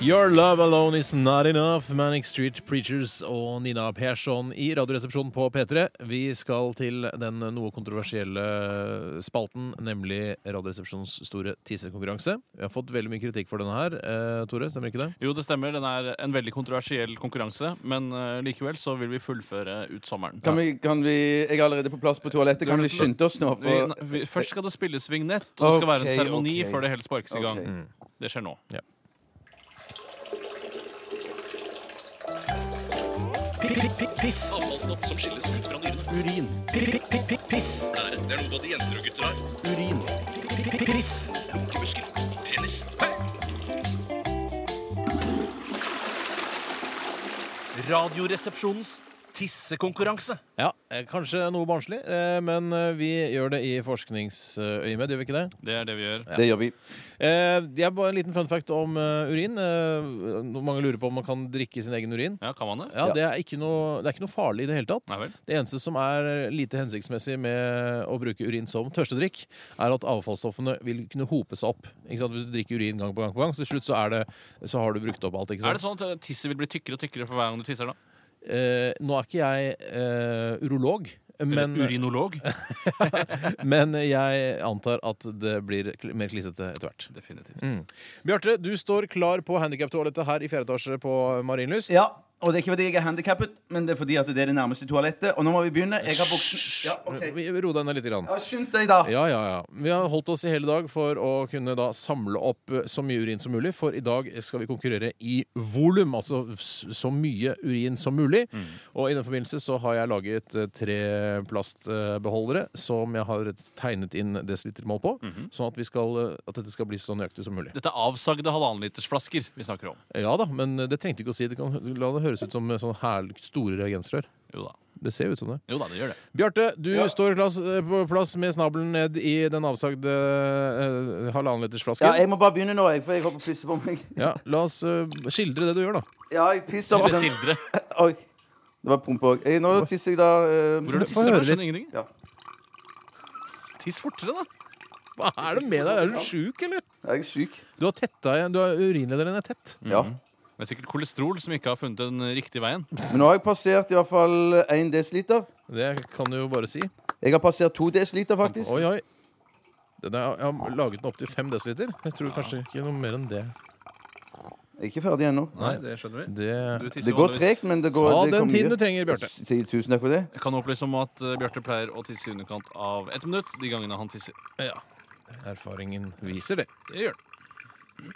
Your love alone is not enough, Manic Street Preachers og Nina Persson i Radioresepsjonen på P3. Vi skal til den noe kontroversielle spalten, nemlig Radioresepsjonens store tissekonkurranse. Vi har fått veldig mye kritikk for denne her. Eh, Tore, stemmer ikke det? Jo, det stemmer. Den er en veldig kontroversiell konkurranse, men eh, likevel så vil vi fullføre ut sommeren. Kan vi, kan vi, jeg er allerede på plass på toalettet. Kan vi skynde oss nå? Vi, For, ne- vi, først skal det spilles vignett, og det skal være en Ok, seremoni ok. før det hele sparkes i gang. Ok. Det skjer nå. Radioresepsjonens tissekonkurranse. Ja, eh, kanskje noe barnslig, eh, men eh, vi gjør det i forskningsøyemed, gjør vi ikke det? Det er det vi gjør. det gjør vi. Eh, Jeg har bare en liten fun fact om eh, urin. Eh, no- Mange lurer på om man kan drikke sin egen urin. Ja, kan man det? Ja, Det, er ikke noe, det er ikke noe farlig i det hele tatt. Nei vel. Det eneste som er lite hensiktsmessig med å bruke urin som tørstedrikk, er at avfallsstoffene vil kunne hope seg opp. Ikke sant? Hvis du drikker urin gang på gang, på gang så til slutt så, er det, så har du brukt opp alt. ikke Er det sant? sånn at eh, tisset vil bli tykkere og tykkere for hver gang du tisser, da? Eh, nå er ikke jeg eh, urolog, men, eh, Eller Urinolog? men jeg antar at det blir kl- mer klissete etter hvert. Definitivt. Bjarte, du står klar på handikaptoalettet her i fjerde etasje på Marienlyst. Ja, og det er ikke fordi jeg er handikappet, men det er fordi at det er det nærmeste toalettet. Og nå må vi begynne. Jeg har buksen Ja, ok. Vi- Ro deg ned litt. Grann. Ja, Skynd deg, da. Ja, ja, ja. Vi har holdt oss i hele dag for å kunne da samle opp eh, så mye urin som mulig, for i dag skal vi konkurrere i volum, altså s- så mye urin som mulig. Mm. Og i den forbindelse så har jeg laget eh, tre plastbeholdere eh, som jeg har tegnet inn desilitermål på, Mhm. sånn at, vi skal, eh, at dette skal bli så nøyaktig som mulig. Dette er avsagde halvannenlitersflasker vi snakker om. Ja da, men eh, det trengte ikke å si. Det kan, la det høres ut som eh, sånn herlig store reagensrør. Jo da. Det ser jo ut som det. Jo da, det gjør det. Bjarte, du Ja. står plass, eh, på plass med snabelen ned i den avsagde eh, halvannenlitersflasken. Ja, jeg må bare begynne nå, jeg, for jeg håper å pisse på meg. Ja, La oss eh, skildre det du gjør, da. Ja, jeg pisser på Eller den. sildre. Oi. Det var promp òg. Nå tisser jeg, da. eh, Hvor er det Få tisser? høre Jeg skjønner ingenting. Ja. Tiss fortere, da. Hva er det med deg? Er du sjuk, eller? Jeg er syk. Du har tetta igjen. Du har urinlederen er tett. Mm. Ja. Det er sikkert kolesterol som ikke har funnet den riktige veien. Men nå har jeg passert i hvert fall 1 dl. Det kan du jo bare si. Jeg har passert 2 dl, faktisk. Oi, oi. Den er, jeg har laget den opp til 5 dl. Jeg tror kanskje ikke noe mer enn det. Jeg er ikke ferdig ennå. Nei, det skjønner Det Det går tregt, men det går Ta det den kommer tiden mye. du trenger, Bjarte. Si tusen takk for det. Jeg kan opplyse om at eh, Bjarte pleier å tisse i underkant av ett minutt de gangene han tisser. Ja. Erfaringen viser det. Det gjør han.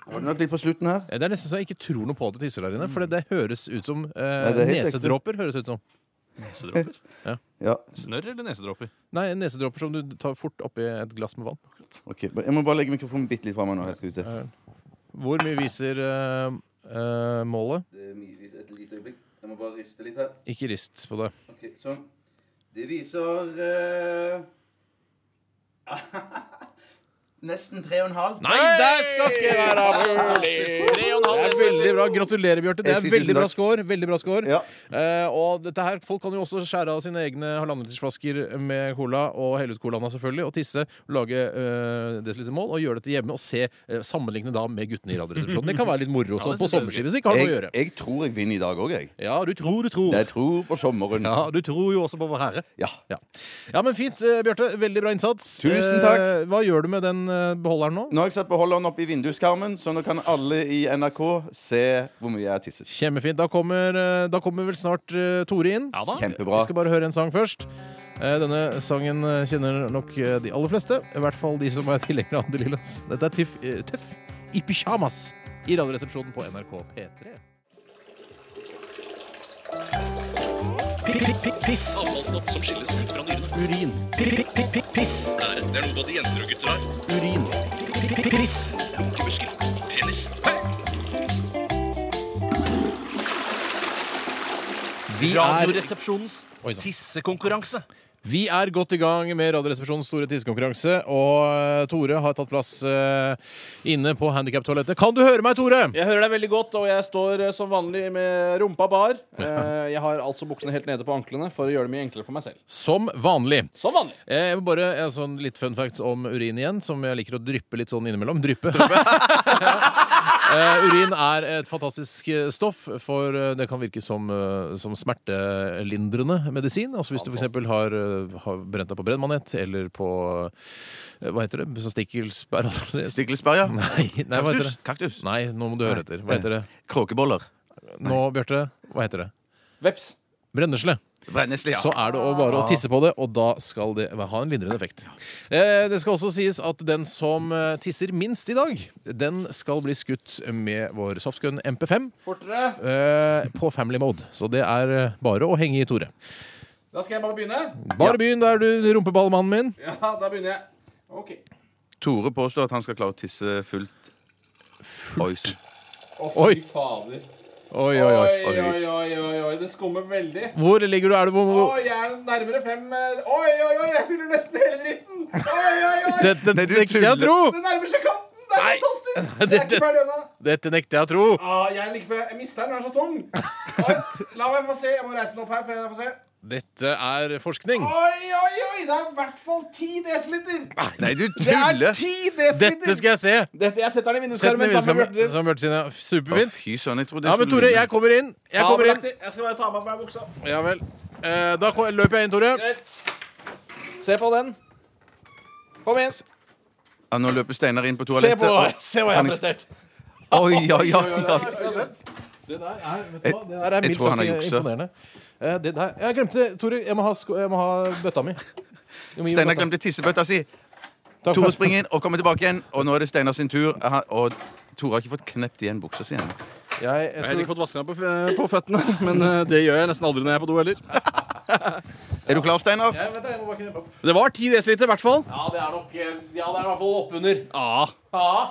Var det nok litt på slutten her? Det er nesten så jeg ikke tror noe på at du tisser der inne. For det høres ut som eh, Nei, det er helt ekte. nesedråper. høres ut som Nesedråper? Ja. Snørr eller nesedråper? Nei, nesedråper som du tar fort oppi et glass med vann. ok Jeg må bare legge mikrofonen bitte litt fra meg nå. Her skal vi se. Hvor mye viser eh, eh, målet? Det er mye- Et lite øyeblikk. Jeg må bare riste litt her. Ikke rist på det. Ok, sånn. Det viser eh, Nesten tre og en halv. Nei, det skal ikke være mulig! Det er veldig bra. Gratulerer, Bjarte. Det Jeg er sier veldig tusen bra takk. score. Veldig bra score. Ja. Eh, og dette her, Folk kan jo også skjære av sine egne halvannenlitersflasker med cola og helle ut colaen selvfølgelig, og tisse, lage eh, desilitermål og gjøre dette hjemme og se eh, sammenligne da med guttene i Radioresepsjonen. Det kan være litt moro sånn på synes jeg er sommerskipet, så vi kan ha noe å gjøre. jeg tror jeg vinner i dag òg, jeg. Ja, du tror, du tror. Jeg tror på sommeren. Ja, Du tror jo også på Vår Herre. Ja. Ja, ja men fint, eh, Bjarte. Veldig bra innsats. Tusen takk. Eh, hva gjør du med den eh, beholderen nå? Nå har jeg satt beholderen opp i vinduskarmen, så nå kan alle i NRK se hvor mye jeg har tisset. Kjempefint. Da kommer, eh, da kommer vel snart eh, Tore inn. Ja da. Kjempebra. Vi skal bare høre en sang først. Eh, Denne sangen eh, kjenner nok eh, de aller fleste. I hvert fall de som er tilhengere av De Lillas. Dette er Tøff, eh, tøff i pysjamas i Radioresepsjonen på NRK P3. Vi er, Radioresepsjonens Oi, sånn. sann. tissekonkurranse. vi er godt i gang med Radioresepsjonens store tissekonkurranse. Og eh, Tore har tatt plass eh, inne på handikaptoalettet. Kan du høre meg, Tore? Jeg hører deg veldig godt, og jeg står eh, som vanlig med rumpa bar. Eh, Jeg har altså buksene helt nede på anklene for å gjøre det mye enklere for meg selv. Som vanlig. Som vanlig. Eh, Jeg vil bare jeg har sånn Litt fun facts om urin igjen, som jeg liker å dryppe litt sånn innimellom. Dryppe. Eh, urin er et fantastisk eh, stoff, for eh, det kan virke som, eh, som smertelindrende medisin. Altså Hvis du f.eks. Har, eh, har brent deg på brennmanet eller på eh, Hva heter det? Sånn Stikkelsbær? Nei, Stiglesberg, ja. nei, hva heter Kaktus. det? Kaktus. Nei, nå må du høre etter. Hva heter det? Kråkeboller. Nå, Bjarte, hva heter det? Veps. Brennesle. Brennesle, ja. Så er det å bare å tisse på det, og da skal det ha en lindrende effekt. Eh, Det skal også sies at den som eh, tisser minst i dag, den skal bli skutt med vår softgun MP5 Fortere. eh, på family mode. Så det er eh, bare å henge i Tore. Da skal jeg bare begynne. Bare begynn der, du rumpeballmannen min. Ja, da begynner jeg. OK. Tore påstår at han skal klare å tisse fullt. Fullt? Å, Oi. fy fader. Oi, Oi, oi, oi. oi, oi, oi, oi. Det skummer veldig. Hvor ligger du? Er du Å, på jeg er nærmere fem eh, Oi, oi, oi, jeg fyller nesten hele dritten! Oi, oi, oi! Dette Nei, du nekter jeg å tro! Det nærmer seg kanten! Det er Nei. fantastisk! Nei, Jeg er det- ikke ferdig ennå. Dette nekter jeg å tro! Ah, jeg er like før jeg jeg mister den. Den er så tung. Oi, la meg få se. Jeg må reise den opp her. før jeg får se Dette er forskning. Oi, oi, oi! Det er i hvert fall 10 dl. Nei, du Det er tuller! 10 dl! Ah, Dette skal jeg se. Dette, jeg setter den i Sett den vinduskarmen i sammen med vinduet Bjarte. som Bjarte sine. Å, Superfint. fy søren, jeg trodde Ja, men Tore, jeg kommer inn. Jeg kommer inn. Jeg skal bare ta meg på meg buksa. Ja vel. Eh, da ko- løper jeg inn, Tore. Greit. Se på den. Kom igjen. ja, Nå løper Steinar inn på Se toalettet. på og- Se hva jeg har prestert. Oi, oi, oi, oi. Det der er vet du hva? Det der er Jeg mildt tror han sagt har juksa. imponerende. Eh, det der, jeg glemte Tore, jeg må ha, sko, jeg må ha bøtta mi. Du må gi Steinar bøtta. glemte tissebøtta si. Takk. Tore springer inn og kommer tilbake igjen, og nå er det Steinar sin tur. Han- Og Tore har ikke fått knept igjen buksa si ennå. Jeg, Jeg har jeg heller ikke tror, fått vaska meg på, f- på føttene, men eh, det gjør jeg nesten aldri når jeg er på do heller. Er du klar, Steinar? jeg, vet det, jeg må bare kneppe opp. Det var 10 dl, i hvert fall. Ja, det er nok eh, Ja, det er i hvert fall oppunder. Ja, Ja.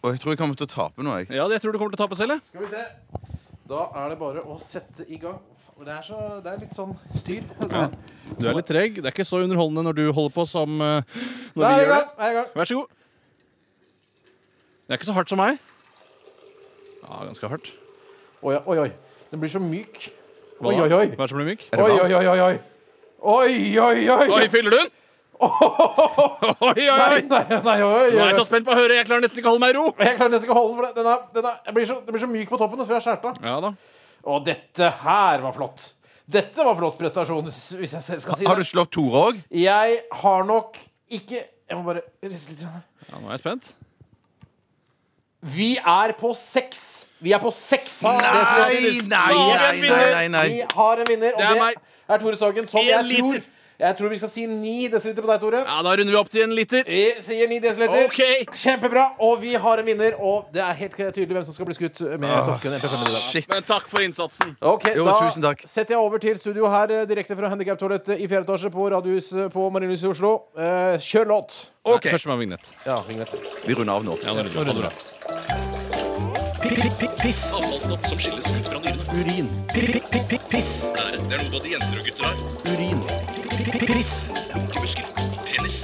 Og jeg tror jeg kommer til å tape nå, jeg. ja det tror jeg du kommer til å tape selv, jeg. Skal vi se. Da er det bare å sette i gang. Det er, så, det er litt sånn styr. Ja. Du er litt treg. Det er ikke så underholdende når du holder på som eh, Da når er vi jeg i gjør det. gang. Er jeg i gang. Vær så god. Det er ikke så hardt som meg. Ja, ganske hardt. Oi, oi, oi. Den blir så myk. Hva Oi, oi, da? oi. Hva er det som blir myk? Oi, oi, oi, oi. oi. Oi, oi, oi. Oi, fyller du den? Oi, oi, Nei, oi! nei, nei, oi, oi, Nå er oi. jeg så spent på å høre. Jeg klarer nesten ikke å holde meg i ro. Jeg klarer nesten ikke å holde den, for det. Den er, den er, jeg blir så, det blir så myk på toppen, og så får jeg skjært av. Ja da. Og dette her var flott. Dette var flott prestasjon, s- hvis jeg selv skal si Har du det. slått Tore òg? Jeg har nok ikke Jeg må bare riste litt. grann her. Ja, nå er jeg spent. Vi er på seks. Vi er på seks. Det skal jeg si. Nei, nei, nei, nei, Vi nei. har en vinner, og Det er det meg. er, Tore Sagen. Som En jeg liter. tror. Jeg tror vi skal si ni desiliter på deg, Tore. Ja, Da runder vi opp til en liter. Vi sier ni desiliter. Kjempebra. Og vi har en vinner, og det er helt tydelig hvem som skal bli skutt med softgun MP5 i dag. Men takk for innsatsen. Ok, Jo, Da tusen takk. setter jeg over til studio her eh, direkte fra handikaptoalettet i fjerde etasje på Radiohuset på Marienlyst i Oslo. Eh, kjør låt! OK. Første med vignett. Ja, vignett. Vi runder av nå. Ja, nå runder vi. Ha det bra. Piss. Avfallsstoff som skilles ut fra dyrene. Urin. Piss. Det er, det er noe både jenter og gutter har. Urin. Piss. Lunkemuskel. Penis.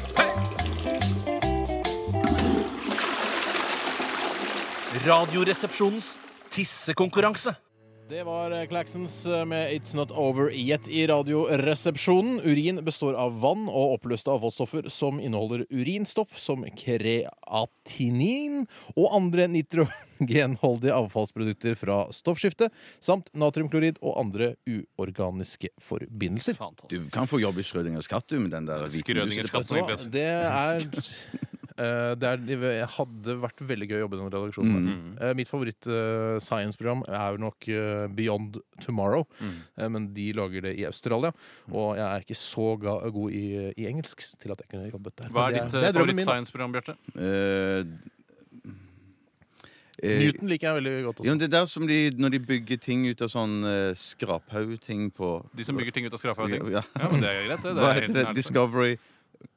Radioresepsjonens tissekonkurranse. Det var eh, Claxons eh, med It's Not Over Yet i Radioresepsjonen. Urin består av vann og oppbløste avfallsstoffer som inneholder urinstoff som kreatinin og andre nitrogenholdige avfallsprodukter fra stoffskiftet, samt natriumklorid og andre uorganiske forbindelser. Fantastisk. Du kan få jobb i Schrødingers katt, du, med den der hvite Skrødingers musen. katt, Så egentlig. det er Eh, det er, jeg hadde vært veldig gøy å jobbe i den redaksjonen. der. Eh, mitt favoritt-science-program er nok eh, Beyond Tomorrow. Eh, men de lager det i Australia. Og jeg er ikke så ga god i, i engelsk til at jeg kunne jobbet der. Hva Men er det ditt eh, det er drømmen min, da. favoritt-science-program, Bjarte? Eh, eh, Newton liker jeg veldig godt Ja, men også. det er der som de, når de bygger ting ut av sånn uh, skraphaug-ting på De som bygger ting ut av skraphaug? ting? Ja. Ja, men det er greit, det. Det Hva er, heter det? helt nærmest. Discovery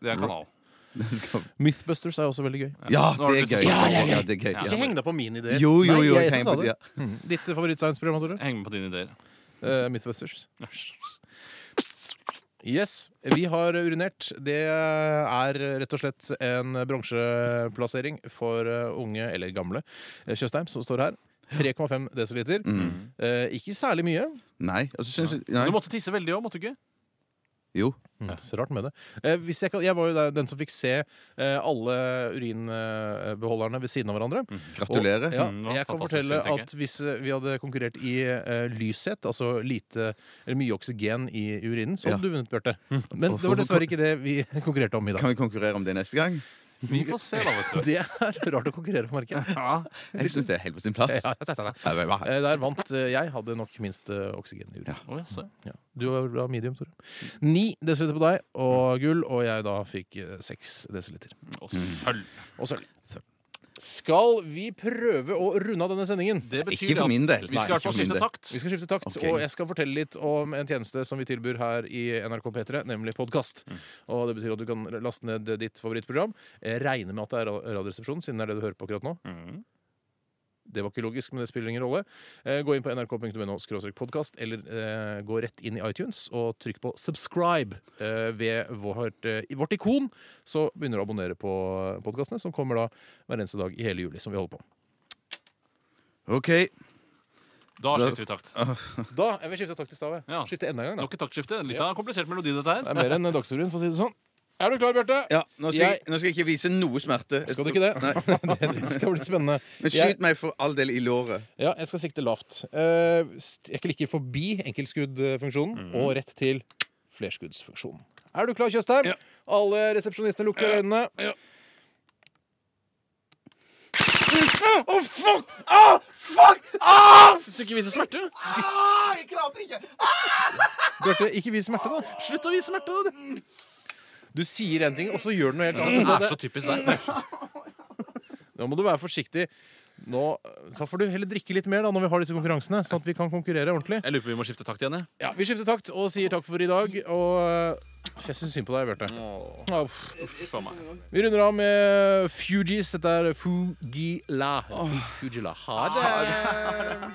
det er en kanal. Discovery. Mythbusters er også veldig gøy. Ja, Nå har det er du gøy. lyst til å- Ja, det er gøy. Ja. Ja. Ikke heng deg på mine ideer. Jo, jo, jo. Nei, jeg, heng sa på det. det. Mm. Ditt favoritt-science-program, Tore? Heng med på dine ideer. Eh, Mythbusters. Yes, vi har urinert. Det er rett og slett en bronseplassering for eh, unge, eller gamle, eh, Tjøstheim, som står her. 3,5 desiliter. Eh, ikke særlig mye. Mm. Nei, altså, syns jeg, Mm. Du nei. måtte tisse veldig òg, måtte du ikke? Jo. Mm, så rart med det. Eh, hvis jeg, kan, jeg var jo der, den som fikk se eh, alle urinbeholderne ved siden av hverandre. Gratulerer. Og, ja, Mm, det var jeg kan fantastisk fortelle syn, tenker jeg. at hvis eh, vi hadde konkurrert i eh, lyshet, altså lite eller mye oksygen i urinen, så Ja. hadde du vunnet, Bjarte. Men det var dessverre ikke det vi konkurrerte om i dag. Kan vi konkurrere om det neste gang? Vi får se, da, vet du. Det er rart å konkurrere på merket. Jeg syns det er helt på sin plass. Ja, jeg tenkte det. Nei, men hva? Eh, Der vant eh, jeg. Hadde nok minst eh, oksygen i urinen. Å, ja, se. Ja. Du var bra medium, Tore. Ni desiliter på deg og gull, og jeg da fikk eh, seks desiliter. Og Mm. sølv. Og sølv. Skal vi prøve å runde av denne sendingen? Det betyr Ikke for min del. Vi skal i hvert Nei, ikke fall for min skifte del. takt. Vi skal skifte takt, Ok. og jeg skal fortelle litt om en tjeneste som vi tilbyr her i NRK P3, nemlig podkast. Og det betyr at du kan laste ned ditt favorittprogram. Jeg regner med at det er ra- Radioresepsjonen, siden det er det du hører på akkurat nå. Det var ikke logisk, men det spiller ingen rolle. Eh, Gå inn på nrk.no podkast, eller eh, gå rett inn i iTunes og trykk på 'subscribe' eh, ved vårt, eh, i vårt ikon. Så begynner du å abonnere på podkastene, som kommer da hver eneste dag i hele juli. som vi holder på. OK. Da skifter vi takt. Da jeg vil skifte takt i stavet. Ja. Skifte enda en gang, da. Nok et taktskifte. Litt av en komplisert melodi, dette her. Det er mer enn Dagsrevyen, for å si det sånn. Er du klar, Bjarte? Ja, nå, skal jeg, Jeg- nå skal jeg ikke vise noe smerte. Skal du ikke det? det? Det skal bli spennende. Men Jeg, skyt meg for all del i låret. ja, jeg skal sikte lavt. Eh, st- Jeg klikker forbi enkeltskuddfunksjonen Mm. og rett til flerskuddsfunksjonen. Er du klar, Tjøstheim? Ja. Alle resepsjonistene lukker øynene. Ja. Å, fuck! Å, fuck! Skal ikke vise smerte? Ah, jeg klarte ikke! Bjarte, ikke vis smerte, da. Ah! Slutt å vise smerte! da. Du sier én ting, og så gjør du noe helt Det annet. er så typisk Mm. deg. Nå må du være forsiktig. Nå, da får du heller drikke litt mer da, når vi har disse konkurransene, sånn at vi kan konkurrere ordentlig. Jeg lurer på om vi må skifte takt igjen. jeg. Ja, Vi skifter takt og sier takk for i dag. Og øh, jeg syns synd på deg, Bjarte. Ja, uff. Faen meg. Vi runder av med Fugees. Dette er Fugila. Fugila. Ha det.